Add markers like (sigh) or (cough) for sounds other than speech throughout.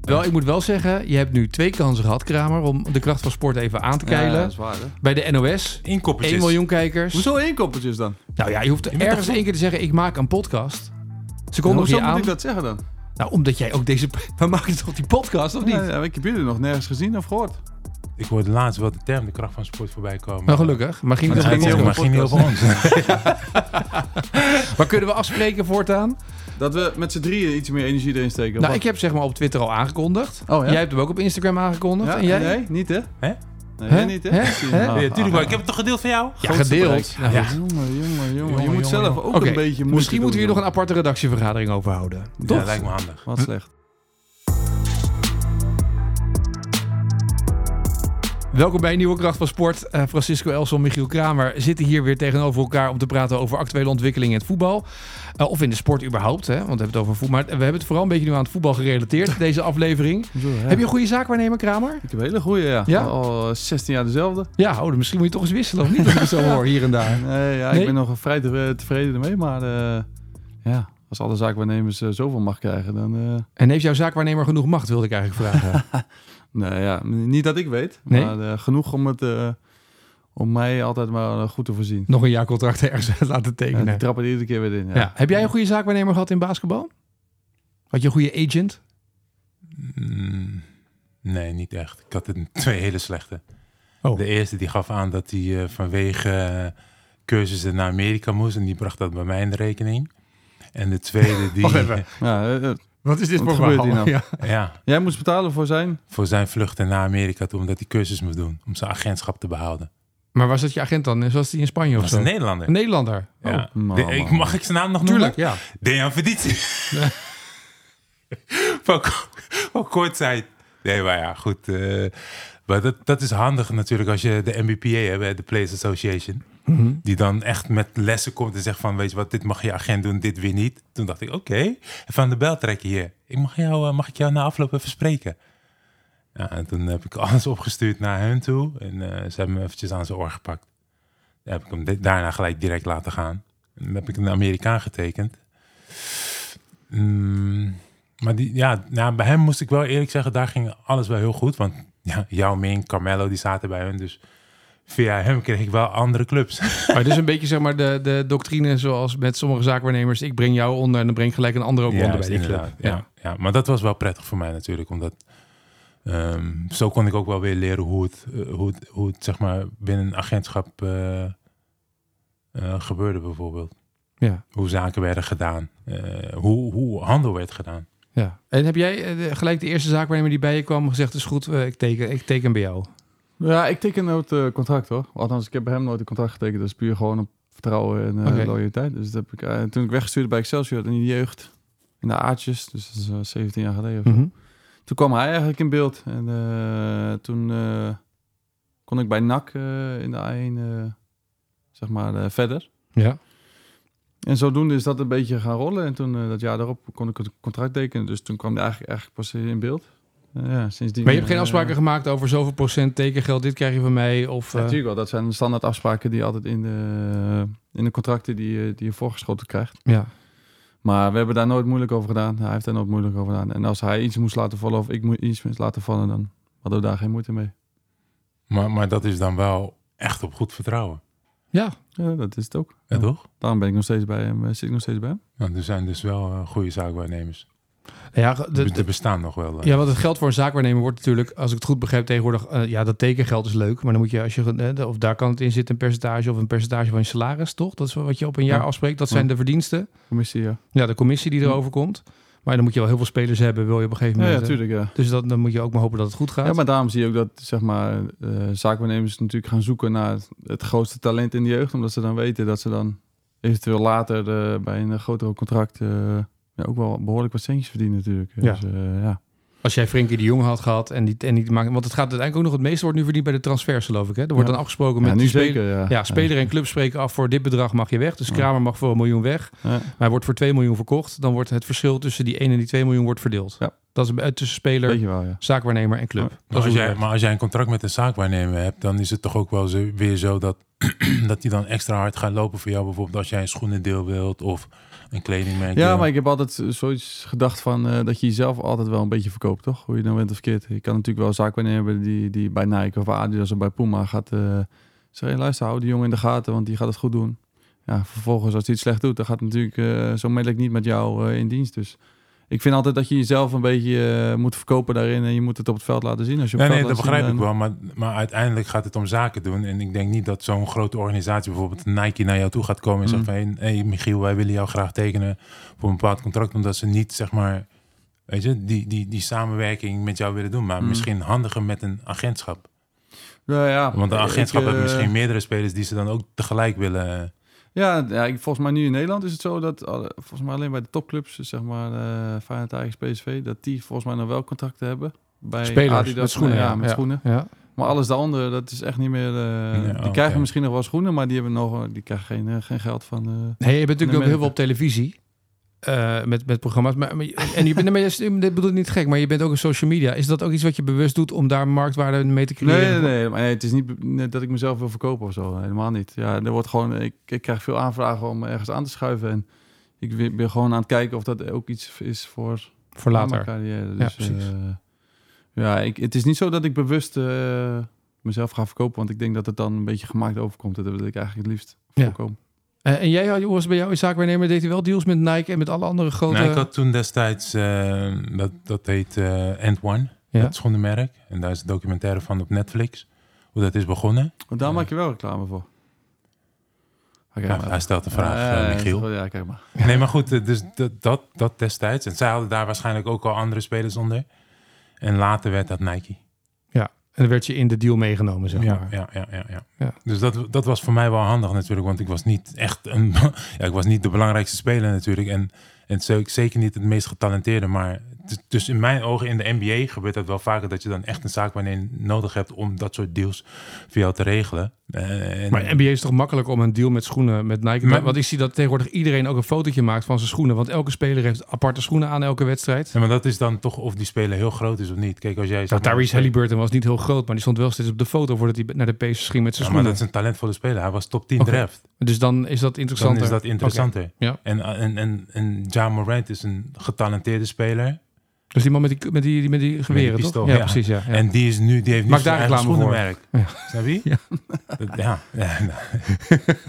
Wel, ik moet wel zeggen, je hebt nu twee kansen gehad, Kramer, om de kracht van sport even aan te Ja, keilen. dat is waar, hè? Bij de NOS, 1 Inkoppertjes. miljoen kijkers. Hoezo inkoppertjes dan? Nou ja, je hoeft bent ergens toch- één keer te zeggen, ik maak een podcast. Ze Hoezo konden moet je aan. ik dat zeggen dan? Nou, omdat jij ook deze... (laughs) We maken toch die podcast, of niet? Ja, ja, ik heb jullie nog nergens gezien of gehoord. Ik hoorde laatst wel de term de kracht van sport voorbij komen. Nou, gelukkig. Maar, ging Maar het dat ook niet ging niet ging over- maar ging niet over ons. maar kunnen we afspreken voortaan? Dat we met z'n drieën iets meer energie erin steken. of Nou, wat? ik heb zeg maar op Twitter al aangekondigd. Oh, ja? Jij hebt hem ook op Instagram aangekondigd. Ja, en jij? Nee, niet hè? Hè? Nee, Hè? jij niet hè? Hè? Zie je Hè? nou. (laughs) Ja, tuurlijk, maar ik heb het toch gedeeld van jou? Ja, gedeeld. bereik. Nou, Ja. goed. Jongen, jongen, jongen. je jongen, moet zelf jongen. ook Oké, een beetje moeite Misschien moeten we hier doen, nog een jongen. aparte redactievergadering over houden. Ja, Toch? lijkt me handig. Wat slecht. Welkom bij een nieuwe kracht van sport. Eh, Francisco Elson en Michiel Kramer zitten hier weer tegenover elkaar om te praten over actuele ontwikkelingen in het voetbal. Eh, of in de sport überhaupt, hè? want we hebben het over voetbal. Maar we hebben het vooral een beetje nu aan het voetbal (laughs) gerelateerd, deze aflevering. Heb je een goede zaakwaarnemer, Kramer? Ik heb een hele goede, ja. Ja? Al eh, 16 jaar dezelfde. Ja, oh, dan misschien moet je toch eens wisselen, of niet? Als ik het (laughs) zo hoor, hier en daar. Nee, ja, Nee? ik ben nog vrij te- tevreden ermee, maar eh, ja, als alle zaakwaarnemers eh, zoveel mag krijgen, dan... eh, En heeft jouw zaakwaarnemer genoeg macht, wilde ik eigenlijk (laughs) vragen. nou ja, niet dat ik weet, Nee? maar eh, genoeg om, het, eh, om mij altijd maar eh, goed te voorzien. Nog een jaarcontract ergens (laughs) laten Ja, tekenen. die trappen er iedere keer weer in, ja. Ja. Heb jij een goede zaakwaarnemer gehad in basketbal? Had je een goede agent? Mm, nee, niet echt. Ik had een, twee hele slechte. Oh. De eerste die gaf aan dat hij eh, vanwege eh, cursussen naar Amerika moest. En die bracht dat bij mij in de rekening. En de (laughs) tweede die... Wacht even. Ja, eh, eh, Wat is dit Wat voor gebeurt verhaal? hier nou? Ja. (laughs) ja, jij moest betalen voor zijn... voor zijn vluchten naar Amerika toe. Omdat hij cursus moest doen. Om zijn agentschap te behouden. Maar was dat je agent dan? Was die in Spanje of was zo? een Nederlander. Een Nederlander. Ja. Oh, man, De- man, ik, man. mag ik zijn naam nog Tuurlijk, noemen? ja. Dejan Verditie. (laughs) Van ko- van kort zijn. Nee, maar ja, goed. eh, maar dat, dat is handig natuurlijk als je de MBPA hebt, hè, de Players Association. Mhm. Die dan echt met lessen komt en zegt van, weet je wat, dit mag je agent doen, dit weer niet. Toen dacht ik, oké, van de bel trekken hier. Ik mag, jou, eh, mag ik jou na afloop even spreken? Ja, en toen heb ik (laughs) alles opgestuurd naar hun toe. En eh, ze hebben me eventjes aan zijn oor gepakt. Daar heb ik hem di- daarna gelijk direct laten gaan. En dan heb ik een Amerikaan getekend. Mm, maar die, ja, nou, bij hem moest ik wel eerlijk zeggen, daar ging alles wel heel goed. Want ja, Yao Ming, Carmelo, die zaten bij hun. Dus via hem kreeg ik wel andere clubs. Maar het is een beetje zeg maar de, de doctrine zoals met sommige zaakwaarnemers. Ik breng jou onder en dan breng ik gelijk een ander ook onder bij die club. Ja. Ja. maar dat was wel prettig voor mij natuurlijk. Omdat ehm, zo kon ik ook wel weer leren hoe het, eh, hoe het, hoe het zeg maar, binnen een agentschap eh, eh, gebeurde bijvoorbeeld. Ja. Hoe zaken werden gedaan. eh, hoe, hoe handel werd gedaan. ja. En heb jij eh, de- gelijk de eerste zaakwaarnemer die bij je kwam gezegd... is goed, eh, ik, teken, ik teken bij jou. Ja, ik teken nooit eh, contract hoor. Althans, ik heb bij hem nooit een contract getekend. Dat is puur gewoon op vertrouwen en eh, Oké. loyaliteit. Dus dat heb ik, eh, toen ik weggestuurd bij Excelsior in de jeugd, in de aardjes, dus dat is eh, 17 jaar geleden. Hm. of zo. Mhm. Toen kwam hij eigenlijk in beeld. En eh, toen eh, kon ik bij NAC eh, in de A1, eh, zeg maar, eh, verder. Ja. En zodoende is dat een beetje gaan rollen. En toen, eh, dat jaar daarop, kon ik het contract tekenen. Dus toen kwam hij eigenlijk, eigenlijk pas in beeld. Eh, ja, sindsdien, Maar je hebt geen eh, afspraken gemaakt over zoveel procent tekengeld, dit krijg je van mij. Of, Ja, eh, natuurlijk wel. Dat zijn de standaard afspraken die je altijd in de, in de contracten die, je- die je voorgeschoten krijgt. ja. Maar we hebben daar nooit moeilijk over gedaan. Hij heeft daar nooit moeilijk over gedaan. En als hij iets moest laten vallen of ik moest iets moest laten vallen, dan hadden we daar geen moeite mee. Maar, maar dat is dan wel echt op goed vertrouwen. ja, Ja, dat is het ook. Ja, toch? Daarom ben ik nog steeds bij hem. eh, Zit ik nog steeds bij hem. Nou, er zijn dus wel eh, goede zaakwaarnemers. ja de- De, de- er bestaan nog wel. eh. Ja, want het geld voor een zaakwaarnemer wordt natuurlijk, als ik het goed begrijp, tegenwoordig, eh, ja, dat tekengeld is leuk, maar dan moet je, als je, eh, de- of daar kan het in zitten, een percentage of een percentage van je salaris, toch? Dat is wat je op een jaar Ja. afspreekt. Dat zijn Ja. de verdiensten. Commissie, eh. ja. Ja, de commissie die Ja. erover komt. Maar dan moet je wel heel veel spelers hebben, wil je op een gegeven Hm. Ja, moment. ja, eh, tuurlijk, ja. dus dat, dan moet je ook maar hopen dat het goed gaat. Ja, maar daarom zie je ook dat zeg maar, eh, zaakwaarnemers natuurlijk gaan zoeken naar het- het grootste talent in de jeugd. Omdat ze dan weten dat ze dan eventueel later eh, bij een grotere contract eh, ja, ook wel behoorlijk wat centjes verdienen natuurlijk. Ja. Dus, eh, ja. Als jij Frenkie de Jong had gehad en die, en die maakt, want het gaat uiteindelijk ook nog, het meeste wordt nu verdiend bij de transfers, geloof ik. Hè? Er wordt Ja. dan afgesproken Ja, met nu die speler- zeker, ja. Ja, speler en club spreken af voor dit bedrag mag je weg. Dus Ja. Kramer mag voor een miljoen weg. Ja. Maar hij wordt voor 2 miljoen verkocht. Dan wordt het verschil tussen die 1 en die 2 miljoen wordt verdeeld. Ja. Dat is eh, tussen speler, Weet je wel, ja. zaakwaarnemer en club. Ja. Dat Maar is als, hoe jij, het maar als jij een contract met een zaakwaarnemer hebt, dan is het toch ook wel zo, (clears throat) weer zo dat, dat die dan extra hard gaat lopen voor jou. Bijvoorbeeld als jij een schoenendeel wilt of en kledingmerken. Ja, maar ik heb altijd eh, zoiets gedacht van eh, dat je jezelf altijd wel een beetje verkoopt, toch? Hoe je dan bent of keert. Je kan natuurlijk wel zaken hebben die, die bij Nike of Adidas of bij Puma gaat eh zeggen, hey, luister, hou die jongen in de gaten, want die gaat het goed doen. Ja, vervolgens als hij iets slecht doet, dan gaat het natuurlijk eh zo melk niet met jou eh, in dienst. Dus ik vind altijd dat je jezelf een beetje eh, moet verkopen daarin en je moet het op het veld laten zien. Als je op Nee, het nee, veld dat laat zien, begrijp ik dan- wel. Maar, maar uiteindelijk gaat het om zaken doen. En ik denk niet dat zo'n grote organisatie, bijvoorbeeld Nike, naar jou toe gaat komen en zegt Mm. van... Hé hey, Michiel, wij willen jou graag tekenen voor een bepaald contract. Omdat ze niet, zeg maar, weet je, die, die, die samenwerking met jou willen doen. Maar Mm. misschien handiger met een agentschap. Nou ja, Want een ik, agentschap heeft eh, misschien meerdere spelers die ze dan ook tegelijk willen... Ja, ja ik, volgens mij nu in Nederland is het zo dat alle- volgens mij alleen bij de topclubs, zeg maar eh Feyenoord, Ajax, PSV, dat die volgens mij nog wel contracten hebben. Bij Spelers Adidas, met schoenen. nou ja, met schoenen. Ja. Maar alles daaronder, dat is echt niet meer. eh, Ja, die oké. krijgen misschien nog wel schoenen, maar die hebben nog, die krijgen geen, eh, geen geld van. eh, Nee, je bent natuurlijk ook Amerika. heel veel op televisie. eh, met, met programma's. Maar, maar- en je bent, maar je- dit bedoel ik niet gek, maar je bent ook op social media. Is dat ook iets wat je bewust doet om daar marktwaarde mee te creëren? Nee, nee, nee, maar nee, het is niet be- net dat ik mezelf wil verkopen of zo. Helemaal niet. Ja, er wordt gewoon, ik, ik krijg veel aanvragen om ergens aan te schuiven. En ik wi- ben gewoon aan het kijken of dat ook iets is voor Voor later. Mijn carrière, dus, Ja, precies. eh, ja, ik, het is niet zo dat ik bewust eh, mezelf ga verkopen, want ik denk dat het dan een beetje gemaakt overkomt. Dat wil ik eigenlijk het liefst Ja. voorkomen. Eh, en jij, Joris, bij jou in zaakwaarnemer deed hij wel deals met Nike en met alle andere grote... Nou, ik had toen destijds, eh, dat, dat heet eh End One, Ja. dat schoenenmerk. En daar is een documentaire van op Netflix, hoe dat is begonnen. Want daar Ja. maak je wel reclame voor. Oké, Ja, maar- hij stelt een vraag, Ja, ja, eh, Michiel. Ja, ja, kijk maar. Nee, maar goed, eh, dus dat, dat, dat destijds. En zij hadden daar waarschijnlijk ook al andere spelers onder. En later werd dat Nike. En dan werd je in de deal meegenomen, zeg Ja, maar. ja, ja, ja, ja. Ja. Dus dat, dat was voor mij wel handig natuurlijk, want ik was niet echt een, (laughs) ja, ik was niet de belangrijkste speler natuurlijk. En, en zo- ik zeker niet het meest getalenteerde, maar t- dus in mijn ogen in de NBA gebeurt dat wel vaker dat je dan echt een zaak wanneer nodig hebt om dat soort deals voor jou te regelen. Eh, en- Maar NBA is toch makkelijk om een deal met schoenen met Nike. Maar- Want ik zie dat tegenwoordig iedereen ook een fotootje maakt van zijn schoenen. Want elke speler heeft aparte schoenen aan elke wedstrijd. Ja, maar dat is dan toch of die speler heel groot is of niet. Kijk, als jij... Nou, zeg maar- Tyrese Halliburton was niet heel groot, maar die stond wel steeds op de foto voordat hij naar de Pacers ging met zijn Ja, maar schoenen. dat is een talentvolle speler. Hij was top 10 Oké. draft. Dus dan is dat Dan interessanter. is dat interessanter. Ja. En, en, en, en Ja Morant is een getalenteerde speler. Dus die man met die, met die, die- met die geweren, Met die pistool, toch? Ja, ja. precies, ja. ja. En die, is nu, die heeft nu Maak zijn daar eigen reclame voor. schoenenmerk. Snap je? Ja. (laughs) Dat- Ja. Ja, nou, (laughs)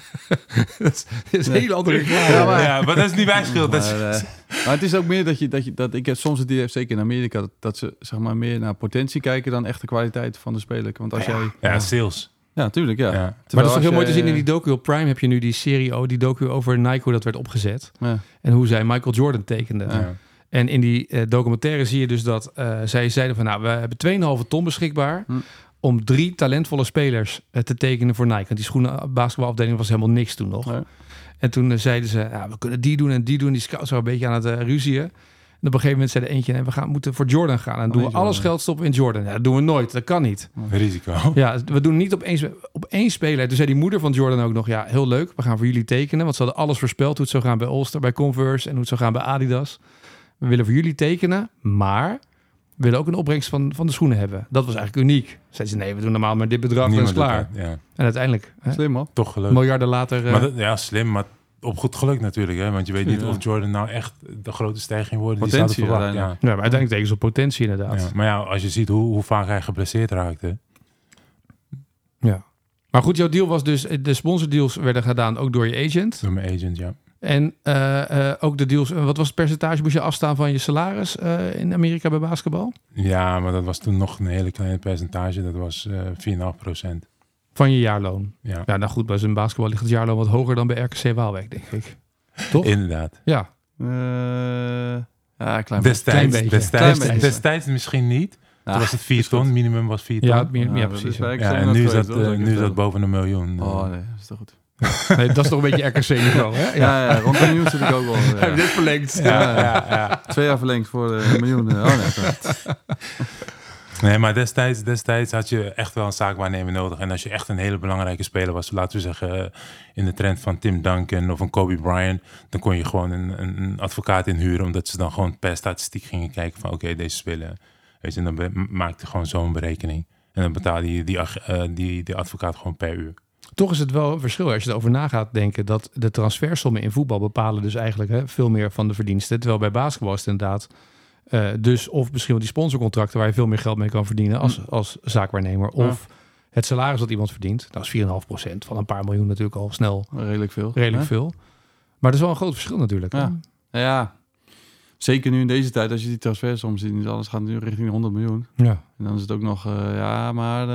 dat is een hele andere (laughs) reclame. Ja, maar- ja, maar dat is niet mijn schuld. Dat is- Maar, eh, maar het is ook meer dat je, dat je dat ik heb soms het idee, zeker in Amerika, dat, dat ze zeg maar meer naar potentie kijken dan echt de kwaliteit van de speler. Want als jij, ja, sales. ja, tuurlijk, ja. Ja. Maar dat Terwijl is toch als heel mooi te jij- zien in die eh, docu op Prime. Heb je nu die serie, oh, die docu over Nike, hoe dat werd opgezet. Ja. En hoe zij Michael Jordan tekenden. Ja. En in die eh, documentaire zie je dus dat eh, zij zeiden van... nou, we hebben 2,5 ton beschikbaar... Hm. om drie talentvolle spelers eh, te tekenen voor Nike. Want die schoenenbasketbalafdeling was helemaal niks toen nog. Nee. En toen eh, zeiden ze, ja, we kunnen die doen en die doen. Die scouts waren een beetje aan het eh, ruzieën. En op een gegeven moment zei de eentje... nee, we gaan, moeten voor Jordan gaan. En dan doen we Alleen alles Oh, Jordan. geld stoppen in Jordan. Ja, dat doen we nooit. Dat kan niet. Risico. Ja, we doen niet op één, op één speler. Toen zei die moeder van Jordan ook nog... ja, heel leuk, we gaan voor jullie tekenen. Want ze hadden alles voorspeld. Hoe het zou gaan bij Ulster, bij Converse en hoe het zou gaan bij Adidas. We willen voor jullie tekenen, maar... we willen ook een opbrengst van, van de schoenen hebben. Dat was eigenlijk uniek. Zei ze, nee, we doen normaal maar dit bedrag en is Niemand doet klaar. dat. Ja. En uiteindelijk, hè, Slim man. Toch geluk. miljarden later... eh, Maar dat, ja, slim, maar op goed geluk natuurlijk. Hè? Want je weet niet Ja. of Jordan nou echt de grote stijging wordt. die Potentie staat er verwacht. Ja. uiteindelijk. ja, maar uiteindelijk tegen ze op potentie inderdaad. Ja. Maar ja, als je ziet hoe, hoe vaak hij geblesseerd raakte. Maar goed, jouw deal was dus... eh, de sponsordeals werden gedaan ook door je agent. Door mijn agent, ja. En eh, eh, ook de deals... eh, wat was het percentage? Moest je afstaan van je salaris eh, in Amerika bij basketbal? Ja, maar dat was toen nog een hele kleine percentage. Dat was eh 4,5 procent. Van je jaarloon. Ja, Ja, nou goed, bij zijn basketbal ligt het jaarloon wat hoger dan bij RKC Waalwijk, denk ik. Toch? inderdaad. Ja. Eh, ja, klein beetje. Klein Destijds, beetje. destijds, Klein beetje. destijds misschien niet. Toen Ah, was het 4 ton, minimum was 4 ton. Ja, Ja, meer, ja, dat precies. is ja. bij Excelsior en nu is geweest, dat, hoor, eh, ik nu is dat vertel. boven een miljoen. eh. Oh nee, dat is toch goed. Nee, dat is toch een beetje RKC-niveau, hè? Ja. Ja, ja, want een miljoen zit ik ook (laughs) wel. eh, Hij heeft dit verlengd. ja, ja, ja. twee jaar verlengd voor eh, een miljoen. eh, Oh nee, dat- Nee, maar destijds, destijds had je echt wel een zaakwaarnemer nodig. En als je echt een hele belangrijke speler was, laten we zeggen eh, in de trend van Tim Duncan of een Kobe Bryant, dan kon je gewoon een, een, een advocaat inhuren, omdat ze dan gewoon per statistiek gingen kijken van oké, deze speler, weet je, en dan be- maakte gewoon zo'n berekening. En dan betaalde je die, ag- eh, die, die advocaat gewoon per uur. Toch is het wel een verschil als je erover na gaat denken dat de transfersommen in voetbal bepalen dus eigenlijk hè, veel meer van de verdiensten. Terwijl bij basketbal is het inderdaad eh, dus of misschien wel die sponsorcontracten waar je veel meer geld mee kan verdienen als, als zaakwaarnemer. Of het salaris dat iemand verdient. Nou, Dat is 4,5% van een paar miljoen natuurlijk al snel Redelijk veel. redelijk hè? veel. Maar dat is wel een groot verschil natuurlijk. hè? Ja. ja. Zeker nu in deze tijd, als je die transfersom ziet, dus alles gaat nu richting de 100 miljoen. ja. En dan is het ook nog, eh, ja, maar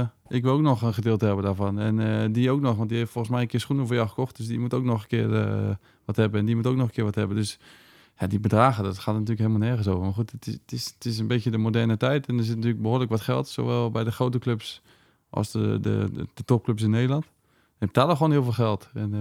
eh, ik wil ook nog een gedeelte hebben daarvan. En eh, die ook nog, want die heeft volgens mij een keer schoenen voor jou gekocht. Dus die moet ook nog een keer eh, wat hebben. En die moet ook nog een keer wat hebben. Dus ja, die bedragen, dat gaat natuurlijk helemaal nergens over. Maar goed, het is, het is, het is een beetje de moderne tijd. En er zit natuurlijk behoorlijk wat geld, zowel bij de grote clubs als de, de, de, de topclubs in Nederland. En betalen gewoon heel veel geld. En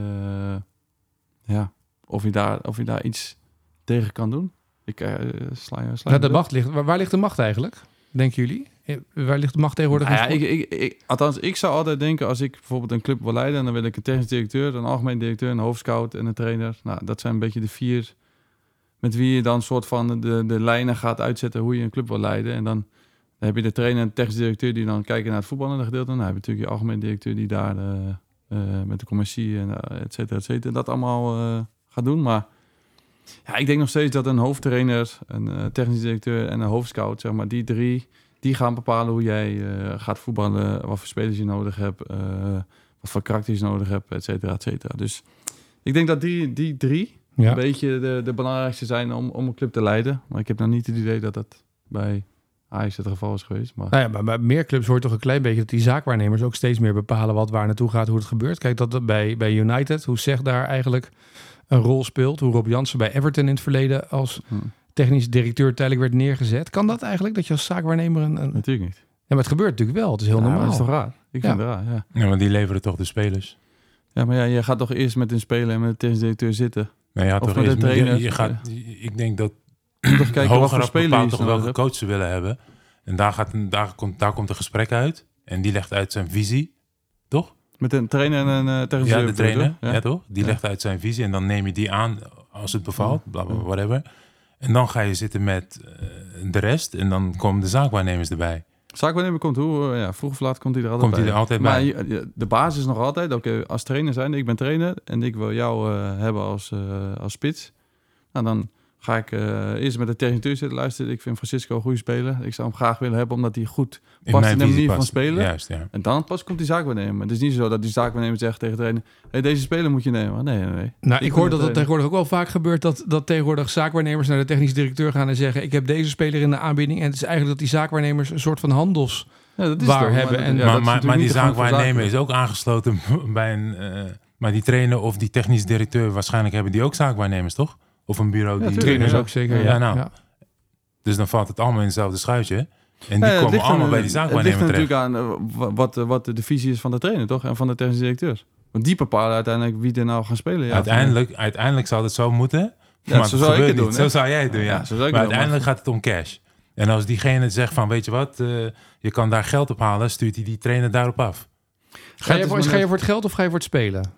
eh, ja, of je, daar, of je daar iets tegen kan doen. Ik eh, sla Nou, je... Sla je de bluff. macht ligt, waar, waar ligt de macht eigenlijk? Denken jullie? Eh, Waar ligt de macht tegenwoordig? in Nou ja, sport? ik, ik, ik- althans, ik zou altijd denken als ik bijvoorbeeld een club wil leiden, en dan wil ik een technisch directeur, een algemeen directeur, een hoofdscout en een trainer. Nou, dat zijn een beetje de vier met wie je dan soort van de, de lijnen gaat uitzetten hoe je een club wil leiden. En dan heb je de trainer en de technisch directeur die dan kijken naar het voetballende gedeelte. Nou, Dan heb je natuurlijk je algemeen directeur die daar eh, eh, met de commercie en eh, et cetera, et cetera, dat allemaal eh, gaat doen. Maar ja, ik denk nog steeds dat een hoofdtrainer, een eh, technisch directeur en een hoofdscout, zeg maar, die drie, die gaan bepalen hoe jij eh, gaat voetballen, wat voor spelers je nodig hebt, eh, wat voor karakters je nodig hebt, et cetera, et cetera. Dus ik denk dat die, die drie Ja. een beetje de, de belangrijkste zijn om, om een club te leiden. Maar ik heb nou niet het idee dat dat bij Ajax het geval is geweest. Maar Nou ja, maar bij meer clubs hoort toch een klein beetje dat die zaakwaarnemers ook steeds meer bepalen wat waar naartoe gaat, hoe het gebeurt. Kijk, dat dat bij, bij United, hoe zeg daar eigenlijk een rol speelt, hoe Rob Jansen bij Everton in het verleden als hm, technisch directeur tijdelijk werd neergezet. Kan dat eigenlijk, dat je als zaakwaarnemer een... een... Ja, natuurlijk niet. maar het gebeurt natuurlijk wel, het is heel Ja, maar normaal. Dat is toch raar? Ik Ja. vind het raar, ja. Ja, want die leveren toch de spelers. Ja, maar ja, je gaat toch eerst met een speler en met de technisch directeur zitten. (clears throat) Nou, je had Of toch met de eerst- je- trainer. je, gaat, ik denk dat Om toch kijken wat voor hogeraf speler je bepaalt is toch welke coach ze willen hebben. En daar, gaat, een- daar, komt, daar komt een gesprek uit. En die legt uit zijn visie. Toch? Met een trainer en een eh, technisch Ja, directeur. de trainer. bedoel Ja, je? Ja. toch? Die Ja. legt uit zijn visie. En dan neem je die aan als het bevalt. Bla, bla, bla, whatever. En dan ga je zitten met eh, de rest. En dan komen de zaakwaarnemers erbij. Zaakwaarnemer komt hoe? eh, Ja, vroeg of laat komt hij er altijd Komt hij bij. er altijd maar bij. je- je- de basis is nog altijd, oké, als trainer zijn, ik ben trainer en ik wil jou eh, hebben als, eh, als spits. Nou, dan ga ik eh, eerst met de technisch directeur zitten luisteren. Ik vind Francisco een goede speler. Ik zou hem graag willen hebben omdat hij goed In past mijn in de visie manier van past. spelen. Juist, ja. En dan pas komt die zaakwaarnemer. Het is niet zo dat die zaakwaarnemer zegt tegen de trainer... Hey, deze speler moet je nemen. Nee, nee, nee. Nou, Ik ik hoor dat ben het meteen- tegenwoordig ook wel vaak gebeurt dat, dat tegenwoordig zaakwaarnemers naar de technisch directeur gaan en zeggen ik heb deze speler in de aanbieding. En het is eigenlijk dat die zaakwaarnemers een soort van handels... Ja, dat is Waar het ook, hebben dat- en- ja, dat maar is maar, maar natuurlijk die niet de gang van zaakwaarnemer is zaken. ook aangesloten bij een... eh, maar die trainer of die technisch directeur... waarschijnlijk hebben die ook zaakwaarnemers, toch? Of een bureau Ja, die... tuurlijk. Trainers ook zeker. ja. Ja, nou. Dus dan valt het allemaal in hetzelfde schuitje. En die Ja, het komen ligt allemaal aan- bij die Het zaakwaarnemer ligt terecht. natuurlijk aan eh, wa- wat, eh, wat de visie is van de trainer, toch? En van de technische directeur. Want die bepalen uiteindelijk wie er nou gaan spelen. Ja, uiteindelijk, uiteindelijk zou het zo moeten. Ja, maar zo dat zou ik gebeurt het doen, niet. hè? Zo zou jij het doen, ja. Ja, zo zou ik het maar doen, uiteindelijk gaat het om cash. En als diegene zegt van, weet je wat, eh, je kan daar geld op halen, stuurt hij die trainer daarop af. Ga, je Dat is voor, maar ga je net- voor het geld of ga je voor het spelen?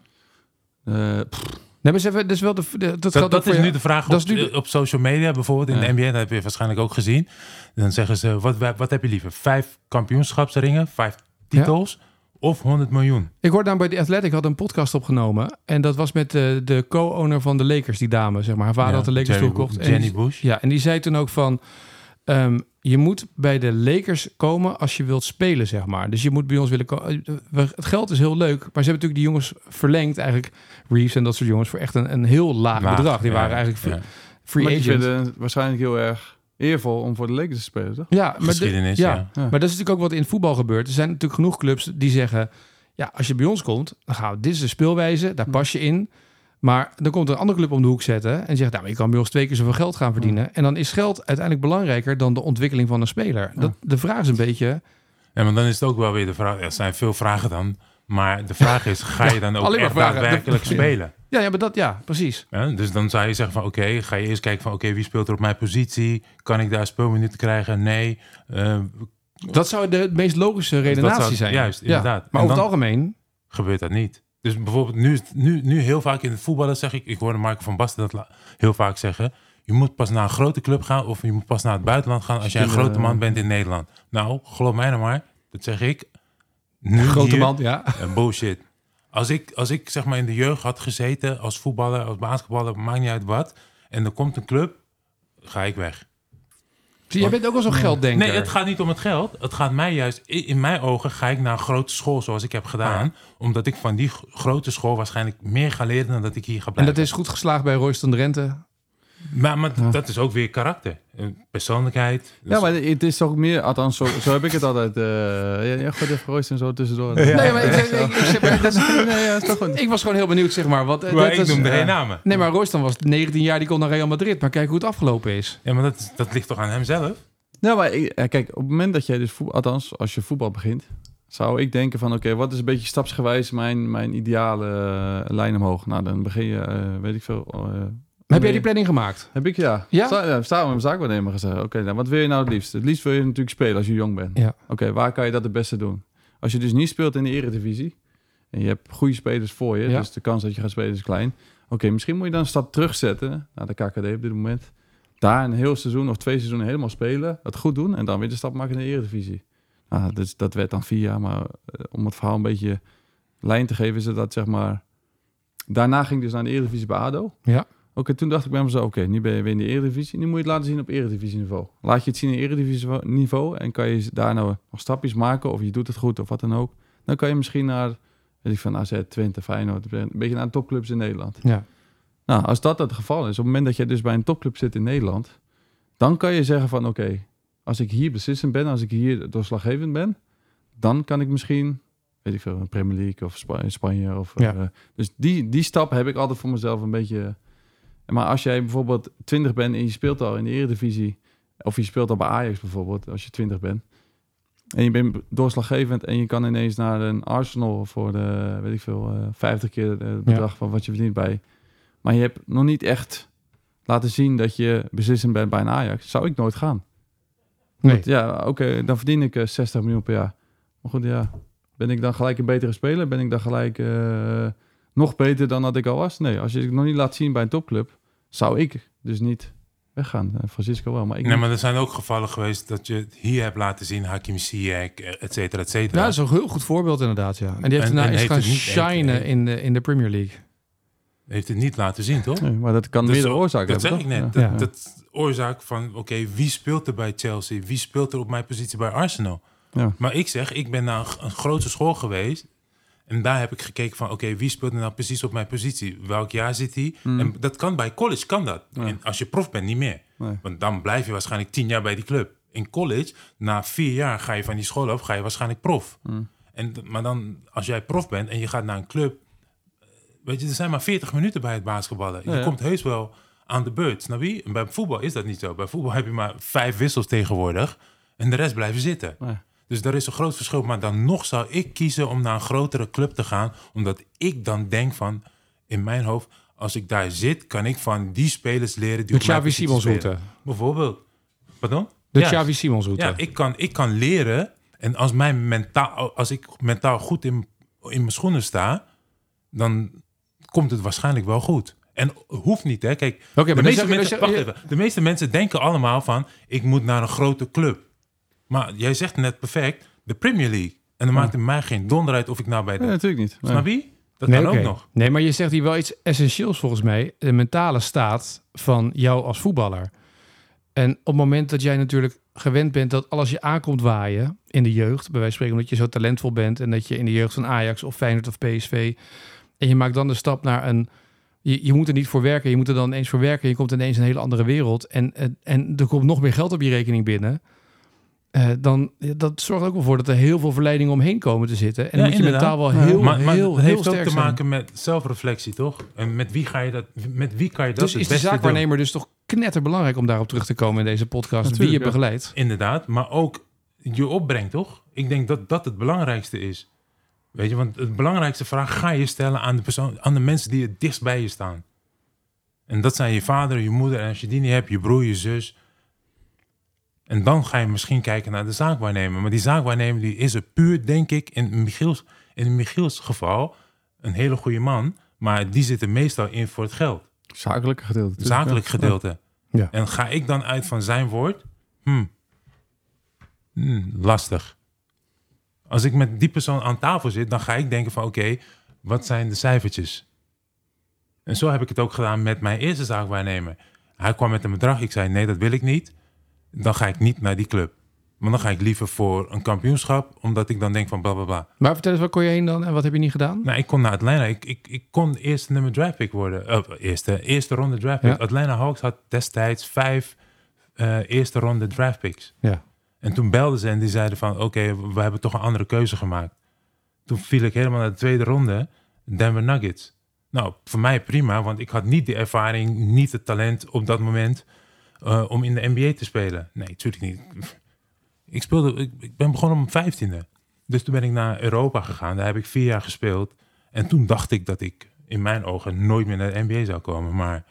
Eh, pff, Nee, maar ze hebben dus wel de, de- dat, Dat, geldt ook dat voor is jou. nu de vraag dat op, is nu de- op social media bijvoorbeeld. In Ja. de NBA, dat heb je waarschijnlijk ook gezien. Dan zeggen ze, wat, wat heb je liever? Vijf kampioenschapsringen, vijf titels of 100 miljoen? Ik hoorde namelijk bij The Athletic had een podcast opgenomen. En dat was met de, de co-owner van de Lakers, die dame, zeg maar. Haar vader Ja, had de Lakers Jerry toegekocht. Bo- En Jenny die- Bush. Ja, en die zei toen ook van... ehm, je moet bij de Lakers komen als je wilt spelen, zeg maar. Dus je moet bij ons willen komen. Het geld is heel leuk, maar ze hebben natuurlijk die jongens verlengd. Eigenlijk Reeves en dat soort jongens voor echt een, een heel laag, Laag, bedrag. Die ja, waren eigenlijk free, ja. free maar die agent. vinden het waarschijnlijk heel erg eervol om voor de Lakers te spelen, toch? Ja, maar de- Geschiedenis, ja. ja. Ja. Maar dat is natuurlijk ook wat in het voetbal gebeurt. Er zijn natuurlijk genoeg clubs die zeggen... ja, als je bij ons komt, dan gaan we... dit is de speelwijze, daar pas je in. Maar dan komt een andere club om de hoek zetten... en zegt, nou, maar je kan bij ons twee keer zoveel geld gaan verdienen. En dan is geld uiteindelijk belangrijker... dan de ontwikkeling van een speler. Dat, de vraag is een beetje... Ja, maar dan is het ook wel weer de vraag. Er zijn veel vragen dan. Maar de vraag is, ga je dan ook alleen maar echt vragen. daadwerkelijk spelen? (laughs) Ja, ja, maar dat, ja precies. Hè? Dus dan zou je zeggen van, oké, ga je eerst kijken van, oké, wie speelt er op mijn positie? Kan ik daar speelminuten krijgen? Nee. Eh, Dat zou de meest logische redenatie zou- zijn. juist, Ja, inderdaad. En Maar over het dan- algemeen... gebeurt dat niet. Dus bijvoorbeeld nu, is het- nu, nu heel vaak in het voetballen zeg ik, ik hoorde Marco van Basten dat la- heel vaak zeggen. Je moet pas naar een grote club gaan of je moet pas naar het buitenland gaan als jij een Stille- grote man bent in Nederland. Nou, geloof mij nou maar, dat zeg ik. Nu grote hier. man, ja. Eh, bullshit. Als ik, als ik zeg maar in de jeugd had gezeten als voetballer, als basketballer, maakt niet uit wat. En er komt een club, ga ik weg. Zie, jij bent ook wel zo'n gelddenker. Nee, het gaat niet om het geld. Het gaat mij juist, i- in mijn ogen ga ik naar een grote school zoals ik heb gedaan. Omdat ik van die g- grote school waarschijnlijk meer ga leren dan dat ik hier ga En blijven. dat is goed geslaagd bij Royston Drenthe. Maar, maar dat is ook weer karakter. Eh, Persoonlijkheid. Ja, maar het is toch meer, althans, zo, zo heb ik het altijd. eh ja, ja, goed, even Royce en zo tussendoor. Nee, maar ik, ik, ik- ik- zeg maar, dat is- (laughs) Nee, ja, is toch goed. ik was gewoon heel benieuwd, zeg maar. Wat, eh, Maar dat ik is- noemde geen eh, namen. Nee, maar Royston was 19 jaar, die kon naar Real Madrid. Maar kijk hoe het afgelopen is. Ja, maar dat, is- dat ligt toch aan hemzelf? Nou, maar ik- eh, kijk, op het moment dat jij dus voetbal, althans, als je voetbal begint, zou ik denken van, oké, wat is een beetje stapsgewijs mijn, mijn ideale eh, lijn omhoog? Nou, dan begin je, eh, weet ik veel. eh, Heb jij die planning gemaakt? heb ik ja. Ja? Sta, ja, sta met mijn zaakwaarnemer gezegd. Oké, nou, wat wil je nou het liefst? Het liefst wil je natuurlijk spelen als je jong bent. Ja. Oké, waar kan je dat het beste doen? Als je dus niet speelt in de eredivisie en je hebt goede spelers voor je, Ja. dus de kans dat je gaat spelen is klein. Oké, misschien moet je dan een stap terugzetten naar de KKD op dit moment. Daar een heel seizoen of twee seizoenen helemaal spelen, het goed doen en dan weer de stap maken in de eredivisie. Nou, dus dat werd dan vier jaar, maar eh, om het verhaal een beetje lijn te geven is het dat zeg maar... Daarna ging ik dus naar de eredivisie bij ADO. Ja. Oké, toen dacht ik bij mezelf, oké, nu ben je weer in de eredivisie. Nu moet je het laten zien op eredivisieniveau. Laat je het zien in eredivisieniveau en kan je daar nou nog stapjes maken of je doet het goed of wat dan ook. Dan kan je misschien naar, weet ik van AZ, Twente, Feyenoord, een beetje naar de topclubs in Nederland. Ja. Nou, als dat het geval is, op het moment dat je dus bij een topclub zit in Nederland, dan kan je zeggen van oké, als ik hier beslissend ben, als ik hier doorslaggevend ben, dan kan ik misschien, weet ik veel, een Premier League of Spa- in Spanje. Of, Ja. eh, dus die, die stap heb ik altijd voor mezelf een beetje. Maar als jij bijvoorbeeld 20 bent en je speelt al in de Eredivisie, of je speelt al bij Ajax bijvoorbeeld, als je 20 bent. En je bent doorslaggevend en je kan ineens naar een Arsenal voor de, weet ik veel, eh, 50 keer het bedrag van wat je verdient bij. Maar je hebt nog niet echt laten zien dat je beslissend bent bij een Ajax. Zou ik nooit gaan. Nee. Want ja, oké, dan verdien ik eh, 60 miljoen per jaar. Maar goed, ja, ben ik dan gelijk een betere speler? Ben ik dan gelijk eh, nog beter dan dat ik al was? Nee, als je het nog niet laat zien bij een topclub, zou ik dus niet weggaan. Eh, Francisco wel, maar ik Nee, niet. maar er zijn ook gevallen geweest dat je het hier hebt laten zien. Hakim Ziyech, eh, et cetera, et cetera. Ja, dat is een heel goed voorbeeld inderdaad, ja. En die heeft En- daarna en is heeft gaan het niet- shinen heeft- in de, in de Premier League. Heeft het niet laten zien, toch? Nee, maar dat kan Dus meerdere zo- oorzaken Dat zeg hebben, ik toch? net. Ja. Dat, dat oorzaak van, oké, wie speelt er bij Chelsea? Wie speelt er op mijn positie bij Arsenal? Ja. Maar ik zeg, ik ben naar een, g- een grote school geweest. En daar heb ik gekeken van, oké, wie speelt er nou precies op mijn positie? Welk jaar zit hij? Hmm. En dat kan bij college, kan dat. En als je prof bent, niet meer. Nee. Want dan blijf je waarschijnlijk tien jaar bij die club. In college, na vier jaar ga je van die school af, ga je waarschijnlijk prof. Hmm. En, d- maar dan, als jij prof bent en je gaat naar een club... eh, Weet je, er zijn maar 40 minuten bij het basketballen. Je ja. komt heus wel aan de beurt, snap je? En bij voetbal is dat niet zo. Bij voetbal heb je maar vijf wissels tegenwoordig. En de rest blijven zitten. Nee. Dus daar is een groot verschil. Maar dan nog zou ik kiezen om naar een grotere club te gaan. Omdat ik dan denk van, in mijn hoofd... Als ik daar zit, kan ik van die spelers leren... Die De op mijn Xavi positie Simons spelen. route. Bijvoorbeeld. Pardon? De Ja. Xavi Simons route. Ja, ik kan, ik kan leren. En als, mijn mentaal, als ik mentaal goed in, in mijn schoenen sta, dan komt het waarschijnlijk wel goed. En hoeft niet, hè? Kijk, maar de, dan meeste zeg je- dan mensen, zeg je- wacht even, de meeste mensen denken allemaal van: ik moet naar een grote club. Maar jij zegt net perfect: de Premier League. En dan maakt het mij geen donder uit of ik nou bij de. Nee, natuurlijk niet. Nee. Snap je? Dat nee, kan oké. ook nog. nee, maar je zegt hier wel iets essentieels volgens mij. De mentale staat van jou als voetballer. En op het moment dat jij natuurlijk gewend bent dat alles je aankomt waaien in de jeugd, bij wijze van spreken omdat je zo talentvol bent en dat je in de jeugd van Ajax of Feyenoord of PSV en je maakt dan de stap naar een je, je moet er niet voor werken, je moet er dan ineens voor werken, je komt ineens in een hele andere wereld en, en, en er komt nog meer geld op je rekening binnen. Eh, dan dat zorgt ook wel voor dat er heel veel verleidingen omheen komen te zitten. En dan Ja, moet je inderdaad. mentaal wel Ja. heel, Maar, maar heel, het heel heeft ook sterk te zijn. maken met zelfreflectie, toch? En met wie, ga je dat, met wie kan je dat Dus het is de beste doen? zaakwaarnemer dus toch knetterbelangrijk om daarop terug te komen in deze podcast. Natuurlijk, wie je ja. begeleidt. Inderdaad, maar ook je opbrengt, toch? Ik denk dat dat het belangrijkste is. Weet je, want het belangrijkste vraag ga je stellen aan de, persoon, aan de mensen die het dichtst bij je staan. En dat zijn je vader, je moeder en als je die niet hebt, je broer, je zus. En dan ga je misschien kijken naar de zaakwaarnemer. Maar die zaakwaarnemer die is er puur, denk ik, in Michiels, in Michiels geval een hele goede man. Maar die zit er meestal in voor het geld Zakelijke gedeelte. natuurlijk, zakelijk Dus, ja. gedeelte. Ja. En ga ik dan uit van zijn woord? Hm. Hm, lastig. Als ik met die persoon aan tafel zit, dan ga ik denken van oké, wat zijn de cijfertjes? En zo heb ik het ook gedaan met mijn eerste zaakwaarnemer. Hij kwam met een bedrag, ik zei nee, dat wil ik niet. Dan ga ik niet naar die club. Maar dan ga ik liever voor een kampioenschap, omdat ik dan denk van bla bla bla. Maar vertel eens, waar kon je heen dan en wat heb je niet gedaan? Nou, ik kon naar Atlanta. Ik, ik, ik kon eerste nummer draft pick worden. Eh, eerste, eerste ronde draft pick. Ja. Atlanta Hawks had destijds vijf eh, eerste ronde draft picks. Ja. En toen belden ze en die zeiden van... oké, we hebben toch een andere keuze gemaakt. Toen viel ik helemaal naar de tweede ronde. Denver Nuggets. Nou, voor mij prima, want ik had niet de ervaring... niet het talent op dat moment eh, om in de NBA te spelen. Nee, natuurlijk niet. Ik, speelde, ik, ik ben begonnen om 15e. Dus toen ben ik naar Europa gegaan. Daar heb ik vier jaar gespeeld. En toen dacht ik dat ik in mijn ogen nooit meer naar de NBA zou komen. Maar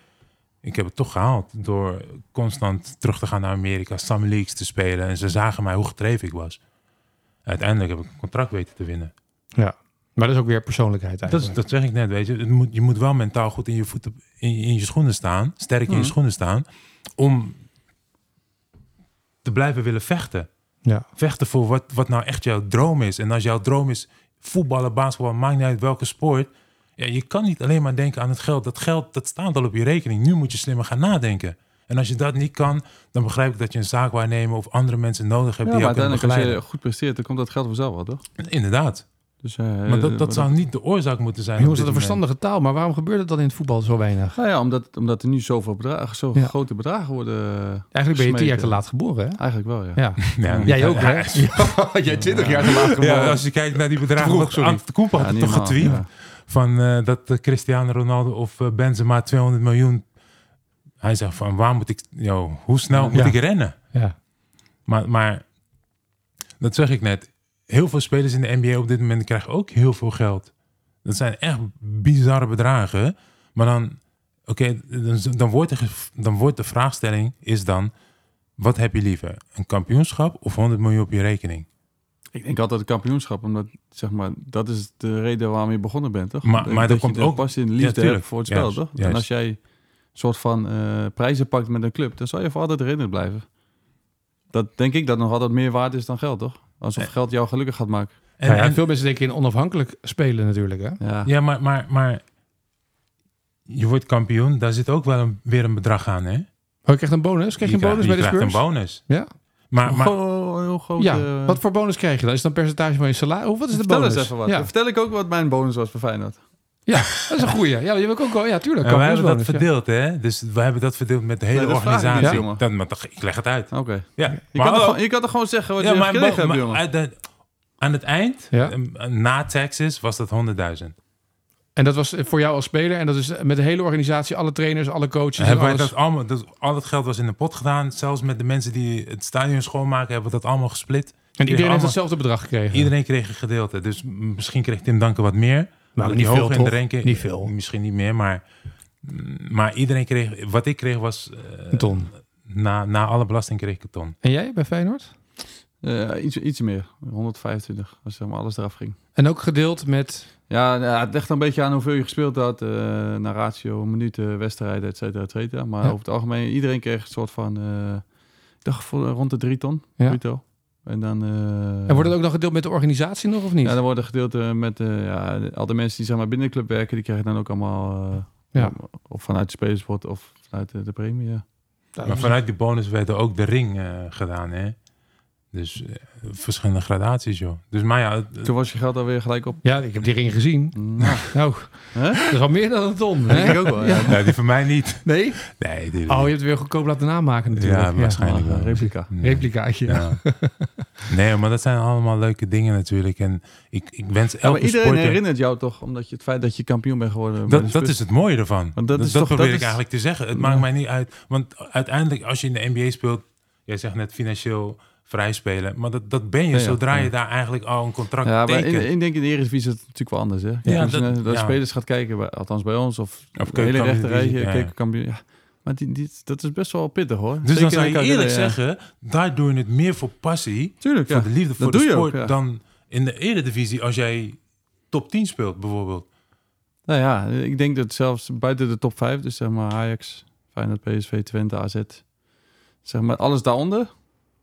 ik heb het toch gehaald door constant terug te gaan naar Amerika, Summer Leagues te spelen. En ze zagen mij hoe gedreven ik was. Uiteindelijk heb ik een contract weten te winnen. ja. Maar dat is ook weer persoonlijkheid Dat, is- eigenlijk. dat zeg ik net, weet je. Het moet, je moet wel mentaal goed in je, voeten, in, je- in je schoenen staan, sterk in je Mhm. schoenen staan, om te blijven willen vechten Ja. vechten voor wat, wat nou echt jouw droom is. En als jouw droom is voetballen, basketbal, maakt niet uit welke sport. Ja, je kan niet alleen maar denken aan het geld. Dat geld dat staat al op je rekening. Nu moet je slimmer gaan nadenken. En als je dat niet kan, dan begrijp ik dat je een zaak waarnemen of andere mensen Ja, nodig hebt maar die jou kunnen uiteindelijk als je begeleiden. goed presteert, dan komt dat geld vanzelf wel, toch? Inderdaad. Dus, eh, Maar dat, eh, dat zou niet de oorzaak moeten zijn. Jongens, op dat een dit moment. verstandige taal. Maar waarom gebeurt het dan in het voetbal zo weinig? Nou ja, omdat, omdat er nu zoveel bedragen, zo Ja. grote bedragen worden... Eigenlijk ben je tien jaar te Smeten. laat geboren, hè? Eigenlijk wel, ja. Eh, Ja. Ja, Jij ook, (laughs) hè? ja, Jij twintig jaar te laat Ja, als je kijkt naar die bedragen. wat sorry. Ant Koepen had Ja, niet het toch normaal, getweet? ja. van eh, dat eh, Cristiano Ronaldo of eh, Benzema 200 miljoen. Hij zegt van waar moet ik, yo, hoe snel moet Ja. ik rennen? Ja. Maar, maar dat zeg ik net. Heel veel spelers in de NBA op dit moment krijgen ook heel veel geld. Dat zijn echt bizarre bedragen. Maar dan, oké, dan, dan, wordt de, ge- dan wordt de vraagstelling is dan, wat heb je liever? Een kampioenschap of 100 miljoen op je rekening? Ik denk altijd het kampioenschap, omdat zeg maar, dat is de reden waarom je begonnen bent, toch? Maar- Ik denk maar dat je komt de ook- passie en de Ja, liefde tuurlijk. hebt voor het spel, Juist, toch? En juist. als jij een soort van eh, prijzen pakt met een club, dan zal je voor altijd herinnerd blijven. Dat denk ik dat nog altijd meer waard is dan geld, toch? Eh. Alsof geld jou gelukkig gaat maken. En, Nou ja, en- veel mensen denken in onafhankelijk spelen natuurlijk, hè? Ja, Ja, maar, maar, maar je wordt kampioen, daar zit ook wel een, weer een bedrag aan, hè? Oh, je krijgt een bonus? Krijg je, een bonus krijgt- bij de krijgt Spurs? een bonus. Ja. Maar, maar Gewoon een heel groot... Ja, eh, wat voor bonus krijg je dan? Is het een percentage van je salaris? Of wat is de Vertel bonus? eens even wat. Ja, Dan Vertel ik ook wat mijn bonus was bij Feyenoord. dat is een goeie. Ja, die heb ik ook al. Ja, tuurlijk. en we hebben dat kampioensbonus, ja. verdeeld, hè? Dus we hebben dat verdeeld met de hele Nee, dat vraag ik organisatie. niet, jongen. Dan, maar toch, ik leg het uit. Oké. Je, Ja, maar kan er hallo. gewoon- je kan toch gewoon zeggen wat je hebt maar- gekregen hebt, maar jongen. uit de- aan het eind, Ja. eh, na taxes, was dat 100.000. En dat was voor jou als speler. En dat is met de hele organisatie, alle trainers, alle coaches. en Hebben wij alles. dat allemaal, dat, al dat geld was in de pot gedaan. Zelfs met de mensen die het stadion schoonmaken, hebben we dat allemaal gesplit. En iedereen heeft allemaal- hetzelfde bedrag gekregen. Iedereen kreeg een gedeelte. Dus m- misschien kreeg Tim Danken wat meer. maar Omdat niet die veel, hoger in de toch? ranking- Niet veel. Misschien niet meer, maar, mm, maar iedereen kreeg... Wat ik kreeg was... eh, Een ton. na, na alle belasting kreeg ik een ton. En jij bij Feyenoord? Eh, iets, iets meer. 125, als zeg maar alles eraf ging. En ook gedeeld met... Ja, nou ja, het ligt een beetje aan hoeveel je gespeeld had. eh naar ratio, minuten, wedstrijden, et cetera, et cetera. Maar Ja. over het algemeen, iedereen kreeg een soort van... eh, ik dacht voor, eh, rond de drie ton, Ja. bruto. En dan... eh, En wordt het ook nog gedeeld met de organisatie nog of niet? Ja, dan worden gedeeld eh, met eh, ja, al de mensen die zeg maar, binnen de club werken. Die krijgen dan ook allemaal... eh, Ja. Of vanuit de spelerspot of vanuit de, de premie, ja. Nou, Maar vanuit die bonus werd er ook de ring eh, gedaan, hè? Dus eh, verschillende gradaties, joh. Dus maar ja, het- Toen was je geld alweer gelijk op. Ja, ik heb die ring gezien. (laughs) Nou, Nou, Hè? dat is al meer dan een ton. dat Hè? denk ik ook wel. Ja. nee, die van mij niet. Nee? Nee, die, Oh, je hebt het weer goedkoop laten namaken natuurlijk. ja, waarschijnlijk Ah, wel. replica. Nee. Replicaatje. Ja. Ja. Nee, maar dat zijn allemaal leuke dingen natuurlijk. En ik, ik wens Ja, maar elke iedereen sporter... herinnert jou toch, omdat je het feit dat je kampioen bent geworden. bij de Dat, dat Spurs- is het mooie ervan. Want dat dat dat, is toch- probeer dat ik is- eigenlijk te zeggen. Het Ja. maakt mij niet uit. Want uiteindelijk, als je in de NBA speelt, jij zegt net financieel vrij spelen. Maar dat, dat ben je Ja, ja. zodra Ja. je daar eigenlijk al een contract Ja, maar tekent. in, in, denk in de Eredivisie is het natuurlijk wel anders. Hè? Ja, dat, dat- dat ja. spelers gaat kijken, bij, althans bij ons, of, Of de hele keukenkampioen- rechterrijtje, ja. keukenkampioen. Ja. Maar die, die, dat is best wel pittig hoor. dus dan zou kan je eerlijk zeggen, daar doe je het meer voor passie, Tuurlijk, ja. voor de liefde voor doe de je sport, ook, ja. dan in de eredivisie als jij top 10 speelt bijvoorbeeld. Nou ja, ik denk dat zelfs buiten de top 5, dus zeg maar Ajax, Feyenoord, PSV, Twente, AZ, zeg maar alles daaronder,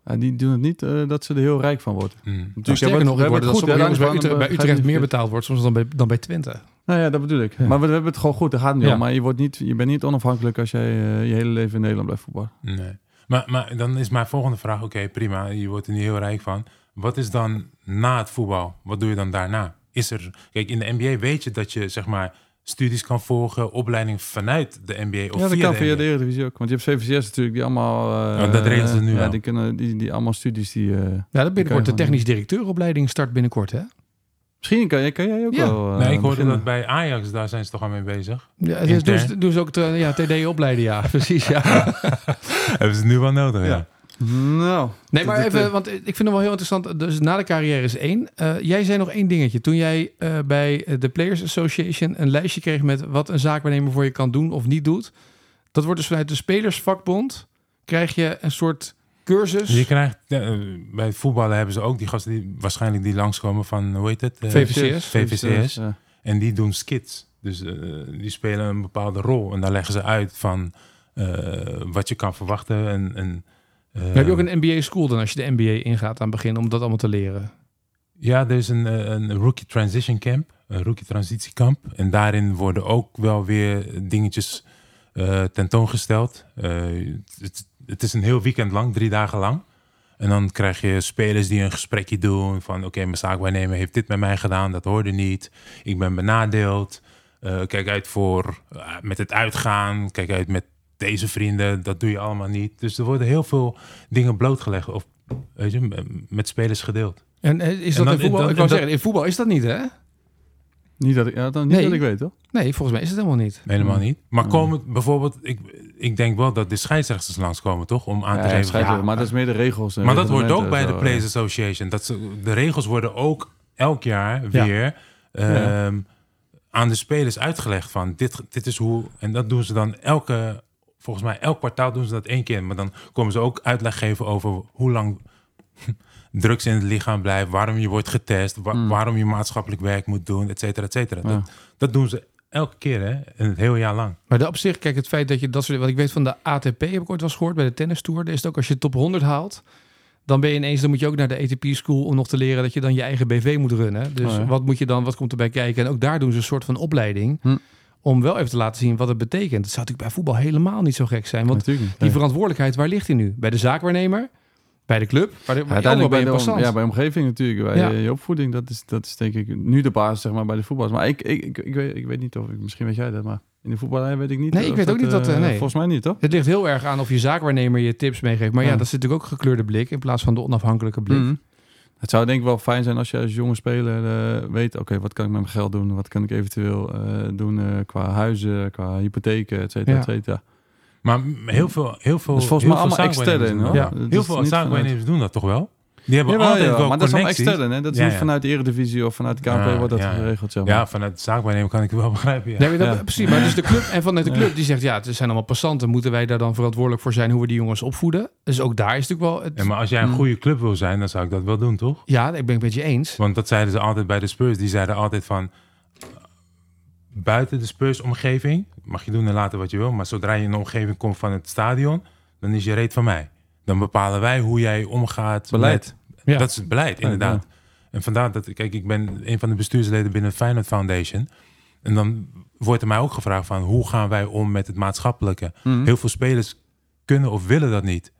ja, die doen het niet eh, dat ze er heel rijk van worden. Hmm. Nou, eh, Sterker nog, ik hoorde dat sommige jongens bij Utrecht, bij Utrecht meer betaald. betaald wordt soms dan bij, dan bij Twente. Nou ja, dat bedoel ik. Ja. Maar we, we hebben het gewoon goed. Dat gaat niet Ja. om. Maar je, wordt niet, je bent niet onafhankelijk als jij eh, je hele leven in Nederland blijft voetballen. Nee. Maar, maar dan is mijn volgende vraag: oké, prima, je wordt er niet heel rijk van. Wat is dan na het voetbal? Wat doe je dan daarna? Is er, kijk, in de NBA weet je dat je zeg maar studies kan volgen, opleiding vanuit de NBA of ja, dat via kan de via NBA. de Eredivisie ook. Want je hebt CVCS natuurlijk, die allemaal... eh, Oh, dat regelen ze nu ja, wel. Die, kunnen, die, die allemaal studies die... eh, Ja, dat binnenkort de gewoon technisch directeuropleiding start binnenkort, hè? misschien kan, kan jij ook Ja. wel... eh, Nee, ik hoorde beginnen. dat bij Ajax, daar zijn ze toch al mee bezig. Ja, dus, Intern. dus, dus ook te- ja, TD opleiden, (laughs) ja, precies, ja. Hebben ze het nu wel nodig? Ja. Ja. Nou, Nee, maar Dit- dit, even, eh, want ik vind het wel heel interessant. Dus na de carrière is één. Eh, jij zei nog één dingetje. Toen jij eh, bij de Players Association een lijstje kreeg met wat een zaakwaarnemer voor je kan doen of niet doet. Dat wordt dus vanuit de spelersvakbond krijg je een soort cursus. Dus je krijgt, eh, bij het voetballen hebben ze ook die gasten die waarschijnlijk die langskomen van, hoe heet het? Eh, VVCS. VVCS. ja. En die doen skits. Dus eh, die spelen een bepaalde rol. En daar leggen ze uit van eh, wat je kan verwachten. En, en, eh, Dan heb je ook een NBA school dan als je de NBA ingaat aan het begin om dat allemaal te leren. Ja, er is een, eh, een rookie transition camp. Een rookie transitiekamp. En daarin worden ook wel weer dingetjes eh, tentoongesteld. Eh, het, het is een heel weekend lang, drie dagen lang. En dan krijg je spelers die een gesprekje doen van... oké, mijn zaakwaarnemer heeft dit met mij gedaan, dat hoorde niet. Ik ben benadeeld. Eh, kijk uit voor eh, met het uitgaan. Kijk uit met deze vrienden, dat doe je allemaal niet. Dus er worden heel veel dingen blootgelegd of weet je, m- met spelers gedeeld. En eh, is dat En dan- in voetbal? en dan- ik wou en dat- zeggen, in voetbal is dat niet, hè? Niet dat ik, ja, dan, niet Nee. dat ik weet, hoor. Ah, Nee, volgens mij is het helemaal niet. Helemaal Hmm. niet. Maar Hmm. komen bijvoorbeeld, ik, ik denk wel dat de scheidsrechters langskomen, toch? Om Ja, aan te ja, geven. scheidsrechter, Ja. maar dat is meer de regels. en Maar dat hoort ook reglementen bij en de zo, Players Association. Dat ze, de regels worden ook elk jaar Ja. weer ehm, aan de spelers uitgelegd. Van dit, dit is hoe. En dat doen ze dan elke. Volgens mij elk kwartaal doen ze dat één keer. Maar dan komen ze ook uitleg geven over hoe lang (laughs) drugs in het lichaam blijft. Waarom je wordt getest. wa- Mm. Waarom je maatschappelijk werk moet doen. Et cetera, et cetera. Ja. Dat, dat doen ze elke keer hè. En het hele jaar lang. Maar dat op zich, kijk, het feit dat je dat soort... Want ik weet van de ATP, heb ik ooit wel eens gehoord, bij de tennis tour. Daar is het ook, als je top 100 haalt, dan ben je ineens... Dan moet je ook naar de ATP school om nog te leren dat je dan je eigen BV moet runnen. Dus Oh ja. wat moet je dan, wat komt erbij kijken? En ook daar doen ze een soort van opleiding... Hm. om wel even te laten zien wat het betekent. Dat zou natuurlijk bij voetbal helemaal niet zo gek zijn. Want Natuurlijk niet. die Nee. verantwoordelijkheid, waar ligt die nu? Bij de zaakwaarnemer? Bij de club? Waar de, Ja, maar ook wel bij uiteindelijk bij een de, om- passant? ja, bij de omgeving natuurlijk, bij Ja. je, je opvoeding. Dat is, dat is denk ik nu de basis zeg maar, bij de voetballers. Maar ik, ik, ik, ik weet, ik weet niet of, ik, misschien weet jij dat, maar in de voetballerij weet ik niet. Nee, ik of weet ook niet dat, eh, eh, nee. Volgens mij niet, toch? Het ligt heel erg aan of je zaakwaarnemer je tips meegeeft. Maar ja, Ja. dat is natuurlijk ook gekleurde blik... in plaats van de onafhankelijke blik. Mhm. Het zou denk ik wel fijn zijn als je als jonge speler eh, weet... oké, wat kan ik met mijn geld doen? Wat kan ik eventueel eh, doen eh, qua huizen, qua hypotheken, et cetera, Ja. et cetera. Maar m- heel veel, heel veel. Dat is volgens heel mij allemaal veel extern, zaakwaarnemers doen hoor. dat. Ja, dat heel is veel niet zaakwaarnemers doen dat toch wel? Die hebben Jawel, altijd jawel, wel Ah, maar dat is allemaal connecties. extern, hè? Dat is Ja, niet ja. vanuit de Eredivisie of vanuit de KNP Ja, wordt dat ja. geregeld, zeg maar. Ja, vanuit de zaakwaarnemer kan ik wel (laughs) begrijpen. Ja. Nee, maar dat, Ja. precies. Maar dus de club en vanuit de club die zegt ja, het zijn allemaal passanten. Moeten wij daar dan verantwoordelijk voor zijn hoe we die jongens opvoeden? Dus ook daar is natuurlijk wel. Ja, Het, maar als jij een Mm. goede club wil zijn, dan zou ik dat wel doen, toch? ja, ik ben het met je eens. Want dat zeiden ze altijd bij de Spurs. Die zeiden altijd van. Buiten de Spurs-omgeving mag je doen en laten wat je wil. Maar zodra je in de omgeving komt van het stadion, dan is je reet van mij. Dan bepalen wij hoe jij omgaat. Beleid. met- Ja. Dat is het beleid, inderdaad. En vandaar dat, kijk, ik ben een van de bestuursleden binnen Feyenoord Foundation. En dan wordt er mij ook gevraagd van hoe gaan wij om met het maatschappelijke. Mhm. Heel veel spelers kunnen of willen dat niet.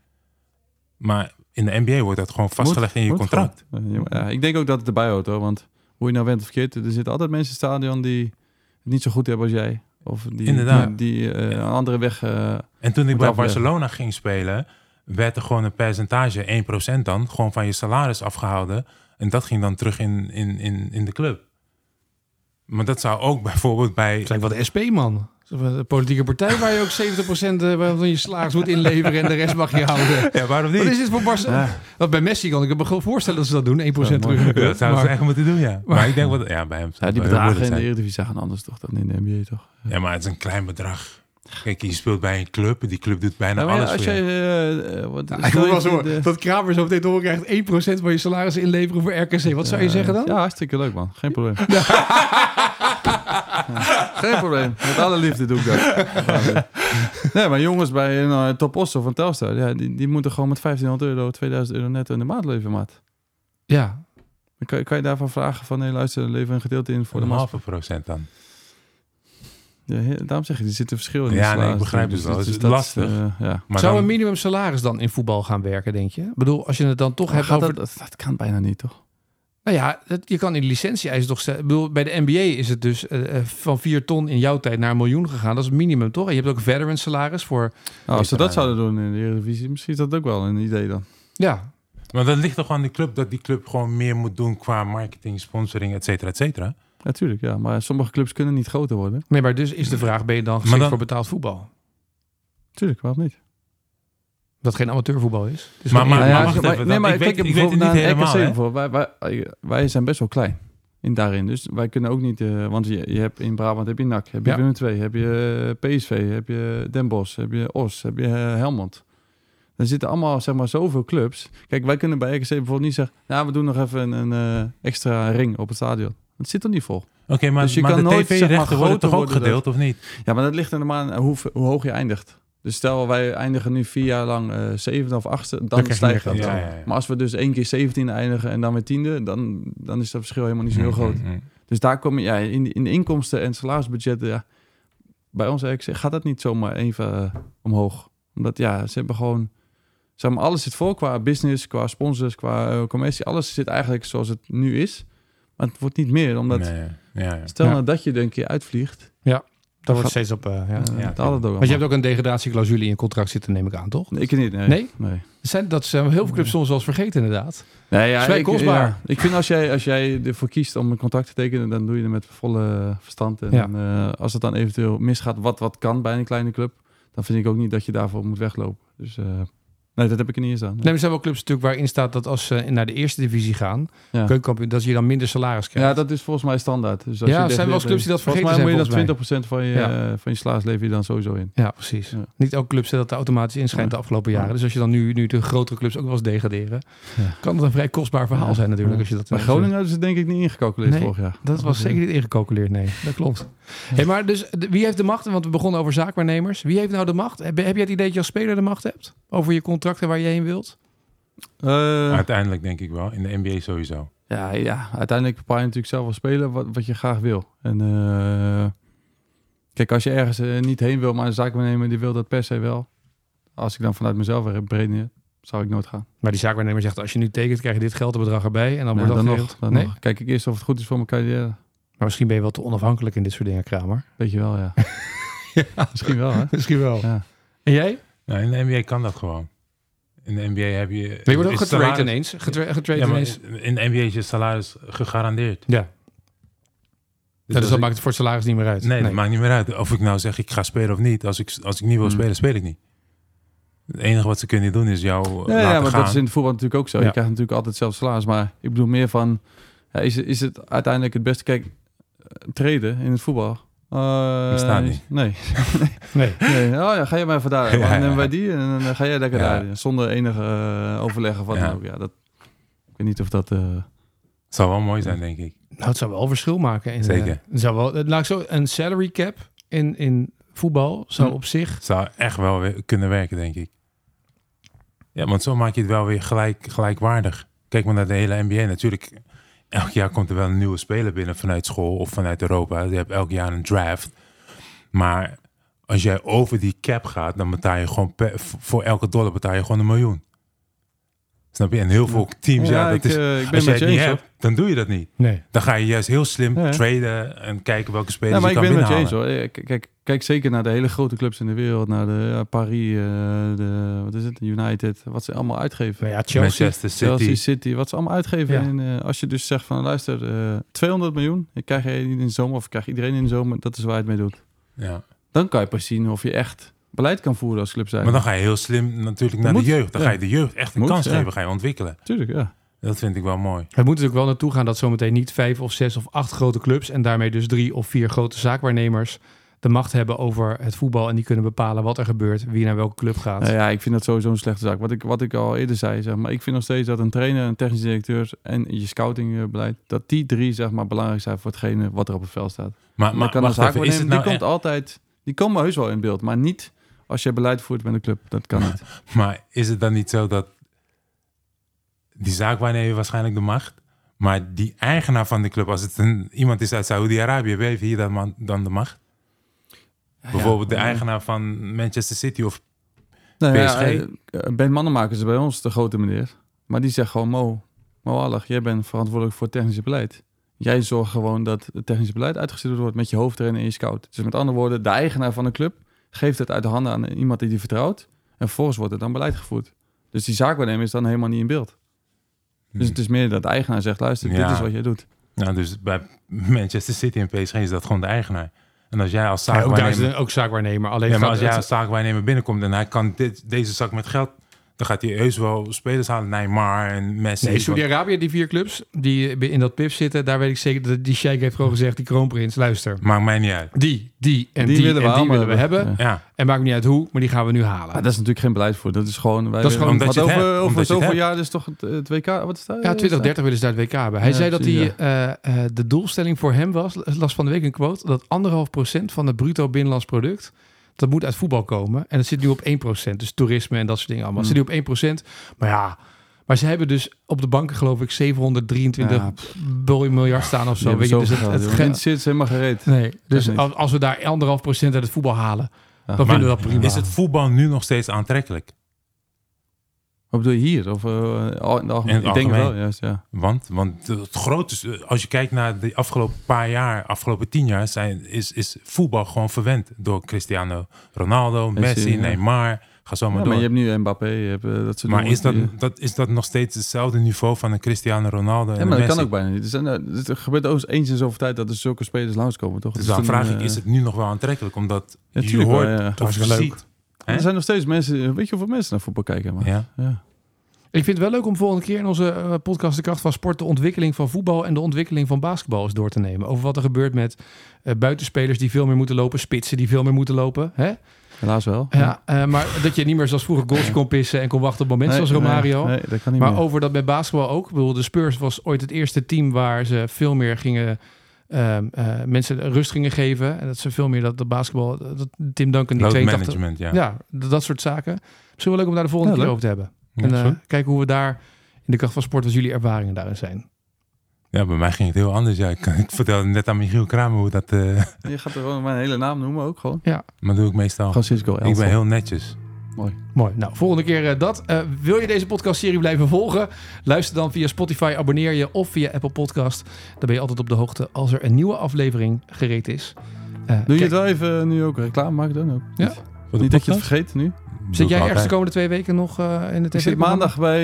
Maar in de NBA wordt dat gewoon vastgelegd in je Moet contract. gewoon. Eh, Ja, maar, ja, ik denk ook dat het erbij hoort hoor. Want hoe je nou bent of verkeerd, er zitten altijd mensen in het stadion die het niet zo goed hebben als jij. Of die, Inderdaad. die, die, eh, Ja. een andere weg. eh, En toen Moet ik bij afleggen. Barcelona ging spelen, werd er gewoon een percentage, 1% dan, gewoon van je salaris afgehouden. En dat ging dan terug in, in, in, in de club. Maar dat zou ook (laughs) bijvoorbeeld bij. Het lijkt wel de SP man. De politieke partij waar je ook 70% van je salaris moet inleveren en de rest mag je houden. Ja, waarom Wat is niet? dit voor Barcelona? Want bij Messi kan ik me gewoon voorstellen dat ze dat doen. 1% Ja, terug. in de club. Dat zouden ze Maar- echt moeten doen, (laughs) ja. Maar, ik denk wat. Ja, bij hem. ja, die zou het wel heel bedragen in de moeilijk Eredivisie gaan anders toch dan in de NBA toch? zijn. Ja, maar het is een klein bedrag. Kijk, je speelt bij een club. Die club doet bijna Ja, maar ja, alles als voor jij, je. eh, eh, wat, Ik stel wil je wel eens horen de- dat Kramer zo meteen te horen krijgt 1% van je salaris inleveren voor RKC. Wat zou je eh, zeggen dan? Ja, hartstikke leuk man. Geen (laughs) probleem. Ja. (laughs) Geen probleem. Met alle liefde doe ik dat. (laughs) Nee, maar jongens bij een eh, Top Osso van Telstar, ja, die, die moeten gewoon met 1500 euro, 2000 euro netto in de maand leven, maat. Ja. Dan Kan, kan je daarvan vragen van, nee, luister, lever een gedeelte in voor de een massa. halve procent dan. Ja, he- daarom zeg ik, er zit een verschil in. de Ja, nee, ik salaris. begrijp het wel. Het is dat lastig. eh, ja. Maar Zou dan- een minimumsalaris dan in voetbal gaan werken, denk je? Ik bedoel, als je het dan toch Gaat hebt Oh, over... dat, dat, dat kan bijna niet, toch? Nou ja, het- je kan in de licentie-eisen toch... stellen- Ik bedoel, bij de NBA is het dus eh, eh, van 4 ton in jouw tijd naar een miljoen gegaan. Dat is het minimum, toch? En je hebt ook veteran salaris voor... Nou, als ze dat eh, zouden doen in de Eredivisie, misschien is dat ook wel een idee dan. Ja, Maar dat ligt toch aan die club, dat die club gewoon meer moet doen qua marketing, sponsoring, et cetera, et cetera. Natuurlijk, ja. Maar sommige clubs kunnen niet groter worden. nee, maar dus is de vraag, ben je dan geschikt dan- voor betaald voetbal? Tuurlijk, waarom niet? Dat geen amateurvoetbal is. Dus Het is Maar- wel maar- eerlijk. maar- wacht even, dat- ik weet- ik weet het bijvoorbeeld niet naar een RKC helemaal, bijvoorbeeld. Wij, wij, wij zijn best wel klein in daarin. Dus wij kunnen ook niet... eh, want je, je hebt in Brabant heb je NAC, heb je Ja. Willem II, heb je eh, PSV, heb je Den Bosch, heb je Os, heb je eh, Helmond. Er zitten allemaal zeg maar zoveel clubs. Kijk, wij kunnen bij RKC bijvoorbeeld niet zeggen... Nou, we doen nog even een, een eh, extra ring op het stadion. Het zit er niet vol. Oké, maar, Dus je maar kan de nooit, zeg maar, tv-rechten worden groter toch ook worden dan- gedeeld, of niet? Ja, maar dat ligt er maar aan hoe, hoe hoog je eindigt. Dus stel, wij eindigen nu vier jaar lang eh, zevende of achtste, dan, krijg je stijgt meer dat. geld. wel. Ja, ja, ja. Maar als we dus één keer zeventiende eindigen en dan weer tiende, dan, dan is dat verschil helemaal niet zo heel groot. Mm, mm, mm. Dus daar kom je ja, in, in de inkomsten en salarisbudgetten. Ja, bij ons eigenlijk gaat dat niet zomaar even eh, omhoog. Omdat ja, ze hebben gewoon. Zeg maar, alles zit vol qua business, qua sponsors, qua eh, commercie. Alles zit eigenlijk zoals het nu is. Maar het wordt niet meer, omdat Nee, ja, ja. stel Ja. nou dat je er een keer uitvliegt. Daar wordt steeds op... eh, ja. eh, ja, het altijd ook Want je allemaal. hebt ook een degradatieclausule in je contract zitten, neem ik aan, toch? Nee, Ik niet, nee. Nee? Nee, Dat Zijn, dat zijn heel veel clubs soms wel eens vergeten, inderdaad. nee ja, Zwaar ik, kostbaar. ja. ik vind als jij, als jij ervoor kiest om een contract te tekenen, dan doe je het met volle verstand. En Ja. eh, als het dan eventueel misgaat, wat, wat kan bij een kleine club, dan vind ik ook niet dat je daarvoor moet weglopen. Dus eh, nee, dat heb ik er niet eens aan. Nee, er zijn wel clubs natuurlijk waarin staat dat als ze naar de eerste divisie gaan, Ja. keukenkampioen, dat je dan minder salaris krijgt. Ja, dat is volgens mij standaard. Dus als Ja, je er zijn wel eens clubs die dat vergeten volgens mij zijn, moet je dat 20% van je, eh, van je salaris lever je dan sowieso in. Ja, precies. Ja. Niet elke club zet dat er automatisch in schijnt de afgelopen jaren. Ja. Dus als je dan nu, nu de grotere clubs ook wel eens degraderen, Ja. kan dat een vrij kostbaar verhaal Ja. zijn natuurlijk. Ja. Als je dat Bij eh, Groningen hadden ze het denk ik niet ingecalculeerd Nee, vorig jaar. Dat was zeker niet ingecalculeerd, nee. Dat klopt. Hey, maar dus de- wie heeft de macht? Want we begonnen over zaakwaarnemers. Wie heeft nou de macht? Heb, heb jij het idee dat je als speler de macht hebt? Over je contract en waar je heen wilt? Eh, Uiteindelijk denk ik wel, in de NBA sowieso. Ja, ja, uiteindelijk bepaal je natuurlijk zelf als speler wat, wat je graag wil. En eh, kijk, als je ergens eh, niet heen wil, maar een zaakwaarnemer die wil dat per se wel. Als ik dan vanuit mezelf weer breed zou ik nooit gaan. Maar die zaakwaarnemer zegt, als je nu tekent, krijg je dit geldbedrag erbij. En dan Nee, wordt dat dan geregeld. nog, dan nee? nog. Kijk ik eerst of het goed is voor mijn carrière. Maar misschien ben je wel te onafhankelijk in dit soort dingen, Kramer. Weet je wel, (laughs) ja. Misschien wel, Oh. hè? (laughs) Misschien wel. Ja. En jij? Nou, in de NBA kan dat gewoon. In de NBA heb je... Je wordt ook is getraind salaris- ineens. Getra getraind Ja, maar ineens. in de NBA is je salaris gegarandeerd. Ja, dus Dus dat, als ik- maakt het voor het salaris niet meer uit. Nee, dat maakt niet meer uit. Of ik nou zeg ik ga spelen of niet. Als ik, als ik niet wil Hmm. spelen, speel ik niet. Het enige wat ze kunnen doen is jou eh, Ja, laten ja, maar gaan. dat is in het voetbal natuurlijk ook zo. Ja. Je krijgt natuurlijk altijd zelf salaris. Maar ik bedoel meer van, ja, is, is het uiteindelijk het beste? Kijk, treden in het voetbal. eh, Ik sta niet. Nee. (laughs) Nee. Nee, oh ja, ga jij maar even daar. (laughs) Ja, Dan ja. nemen wij die en dan eh, ga jij lekker Ja. daar. Zonder enige eh, overleg of wat Ja. dan ook. Ja, dat, ik weet niet of dat... eh, Het zou wel mooi zijn, denk ik. Nou, het zou wel verschil maken. In, Zeker. eh, het zou wel, nou, zo, een salary cap in, in voetbal zou Hm. op zich... Het zou echt wel weer kunnen werken, denk ik. Ja, want zo maak je het wel weer gelijk, gelijkwaardig. Kijk maar naar de hele NBA. Natuurlijk, elk jaar komt er wel een nieuwe speler binnen vanuit school of vanuit Europa. Je hebt elk jaar een draft. Maar als jij over die cap gaat, dan betaal je gewoon per- voor elke dollar betaal je gewoon een miljoen. Snap je? En heel veel teams, ja, dat ik, is, eh, ik ben als jij met het je niet eens. hoor. hebt, dan doe je dat niet. Nee. Dan ga je juist heel slim Ja, ja. traden en kijken welke spelers Ja, maar je ik kan ben met je binnenhalen. eens hoor. Eh, k- Kijk, kijk zeker naar de hele grote clubs in de wereld. Naar de ja, Paris, eh, de, wat is het, United. Wat ze allemaal uitgeven. Nou ja, Chelsea. Manchester City. Chelsea City, wat ze allemaal uitgeven. Ja. En, eh, als je dus zegt van luister, eh 200 miljoen, ik krijg je in de zomer of krijg iedereen in de zomer, dat is waar je het mee doet. Ja. Dan kan je pas zien of je echt beleid kan voeren als club zijn. Maar dan ga je heel slim natuurlijk naar Moet, de jeugd. Dan ja. ga je de jeugd echt een Moet, kans ja. geven, ga je ontwikkelen. Tuurlijk, ja. Dat vind ik wel mooi. Het moet natuurlijk wel naartoe gaan dat zometeen niet vijf of zes of acht grote clubs... en daarmee dus drie of vier grote zaakwaarnemers de macht hebben over het voetbal... en die kunnen bepalen wat er gebeurt, wie naar welke club gaat. Nou ja, ik vind dat sowieso een slechte zaak. Wat ik, wat ik al eerder zei, zeg maar, ik vind nog steeds dat een trainer, een technisch directeur en je scoutingbeleid, dat die drie zeg maar belangrijk zijn voor hetgene wat er op het veld staat. Maar, Maar maar kan wacht een even, is zaakwaarnemer, het nou die komt echt- altijd, die komen heus wel in beeld, maar niet als je beleid voert met een club. Dat kan (laughs) niet. maar is het dan niet zo dat die zaakwaarnemer waarschijnlijk de macht, maar die eigenaar van de club, als het een, iemand is uit Saoedi-Arabië, heeft hier dan, man- dan de macht? Bijvoorbeeld de eigenaar van Manchester City of Nou PSG. ja, eh, Ben Mannenmaker is bij ons de grote meneer. Maar die zegt gewoon, Mo, Mo Allag, jij bent verantwoordelijk voor het technische beleid. Jij zorgt gewoon dat het technische beleid uitgestuurd wordt met je hoofdtrainer en je scout. Dus met andere woorden, de eigenaar van de club geeft het uit de handen aan iemand die die vertrouwt. En vervolgens wordt er dan beleid gevoerd. Dus die zaakwaarnemer is dan helemaal niet in beeld. Dus het is meer dat de eigenaar zegt, luister, dit Ja. is wat jij doet. Nou, dus bij Manchester City en PSG is dat gewoon de eigenaar. En als jij als Ja, ook, daar is een- zaakwaarnemer, ook zaakwaarnemer. Alleen ja, maar gaat als jij het- als zaakwaarnemer binnenkomt en hij kan dit, deze zak met geld, dan gaat hij heus wel spelers halen. Neymar en Messi. Nee, Saudi-Arabië, die vier clubs die in dat PIP zitten, daar weet ik zeker dat die sheik heeft gewoon gezegd, die kroonprins, luister. Want- Maakt mij niet uit. Die, die en die, Die willen we en die allemaal willen we hebben. hebben. Ja, En maakt niet uit hoe, maar die gaan we nu halen. Maar dat is natuurlijk geen beleid voor. Dat is gewoon... Wij Dat is gewoon willen- omdat je want het over, hebt. over Omdat je het zoveel hebt. jaar is toch het, het WK... Wat is dat? Ja, 2030 willen ze daar het WK hebben. Hij Ja, zei dat hij, precies, eh, eh, de doelstelling voor hem was, las van de week een quote, dat anderhalf procent van het bruto binnenlands product, dat moet uit voetbal komen. En dat zit nu op 1 procent, dus toerisme en dat soort dingen allemaal. Hmm. Zit nu op 1 procent, maar ja... Maar ze hebben dus op de banken geloof ik 723 Ja, bil- miljard staan of zo. Zo, Weet je, dus het, het grenst- zit helemaal gereed. Nee, dus niet. als, als we daar anderhalf procent uit het voetbal halen, Ja, dan maar vinden we dat prima. is het voetbal nu nog steeds aantrekkelijk? Wat bedoel je hier? Of eh, al- in de algemeen? In het ik denk algemeen. wel, juist, ja. Want, want het grote, als je kijkt naar de afgelopen paar jaar, afgelopen tien jaar, zijn, is, is voetbal gewoon verwend door Cristiano Ronaldo, Messi, Messi, ja. Neymar. Ga zo Ja, maar Maar, door. je hebt nu Mbappé, je hebt eh, dat soort Maar jongens is dat, die- dat, is dat nog steeds hetzelfde niveau van een Cristiano Ronaldo en Ja, een maar dat Messi? kan ook bijna niet. Er, zijn, eh, het gebeurt ook eens eens in zoveel tijd dat er zulke spelers langskomen, toch? Dus dan dan vraag ik, eh, is het nu nog wel aantrekkelijk? Omdat Ja, je tuurlijk wel, hoort ja. of je Hartstikke leuk. ziet. hè? Er zijn nog steeds mensen... Weet je hoeveel mensen naar voetbal kijken? Maar, Ja. ja. Ik vind het wel leuk om volgende keer in onze eh, podcast De Kracht van Sport de ontwikkeling van voetbal en de ontwikkeling van basketbal eens door te nemen. Over wat er gebeurt met eh, buitenspelers die veel meer moeten lopen, spitsen die veel meer moeten lopen. Hè? Helaas wel. Ja, eh, maar dat je niet meer zoals vroeger goals kon pissen en kon wachten op Nee, momenten zoals Romario. Nee, nee, dat kan niet Maar meer. over dat met basketbal ook. Ik bedoel, de Spurs was ooit het eerste team waar ze veel meer gingen. ehm, eh, mensen rust gingen geven. En dat ze veel meer dat de basketbal. Dat Tim Duncan die Load 82. management, ja. Ja, d- dat soort zaken. Misschien wel leuk om daar de volgende Ja, keer leuk. over te hebben. Ja, en eh, goed. kijken hoe we daar in de kracht van sport, wat jullie ervaringen daarin zijn. Ja, bij mij ging het heel anders. Ja. (laughs) Ik, ik vertelde net aan Michiel Kramer hoe dat... eh, Je gaat er gewoon mijn hele naam noemen ook gewoon. maar doe ik meestal. Francisco ik Elftal. ben heel netjes. Mooi. Nou, volgende keer eh, dat. Eh, wil je deze podcastserie blijven volgen? Luister dan via Spotify, abonneer je of via Apple Podcast. Dan ben je altijd op de hoogte als er een nieuwe aflevering gereed is. Eh, Doe je kijk- het wel even nu ook reclame maken dan ook? Ja. Niet- Niet dat je het vergeet nu. Zit jij ergens de komende twee weken nog eh, in de tv? Ik zit maandag bij,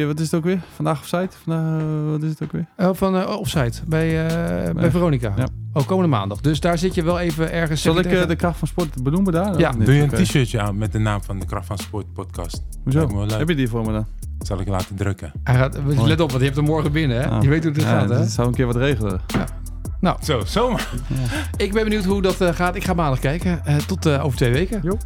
eh, wat is het ook weer? Vandaag of site? Vandaag, eh, wat is het ook weer? van eh, Offside, bij, eh, bij Ja. Veronica. Ja. Oh, komende maandag. Dus daar zit je wel even ergens... Zal zit ik je eh, tegen- de kracht van sport benoemen daar? Ja. Of niet? Doe je een Oké. t-shirtje aan met de naam van de Kracht van Sport podcast. Lijkt me Hoezo? wel leuk. Heb je die voor me dan? Zal ik laten drukken. Hij gaat, let op, want je hebt hem morgen binnen. Hè? Ah. Je weet hoe het Ja, gaat, hè? dat zou een keer wat regelen. Zo, zomaar. Ik ben benieuwd hoe dat eh, gaat. Ik ga maandag kijken. Eh, tot eh, over twee weken. Jo.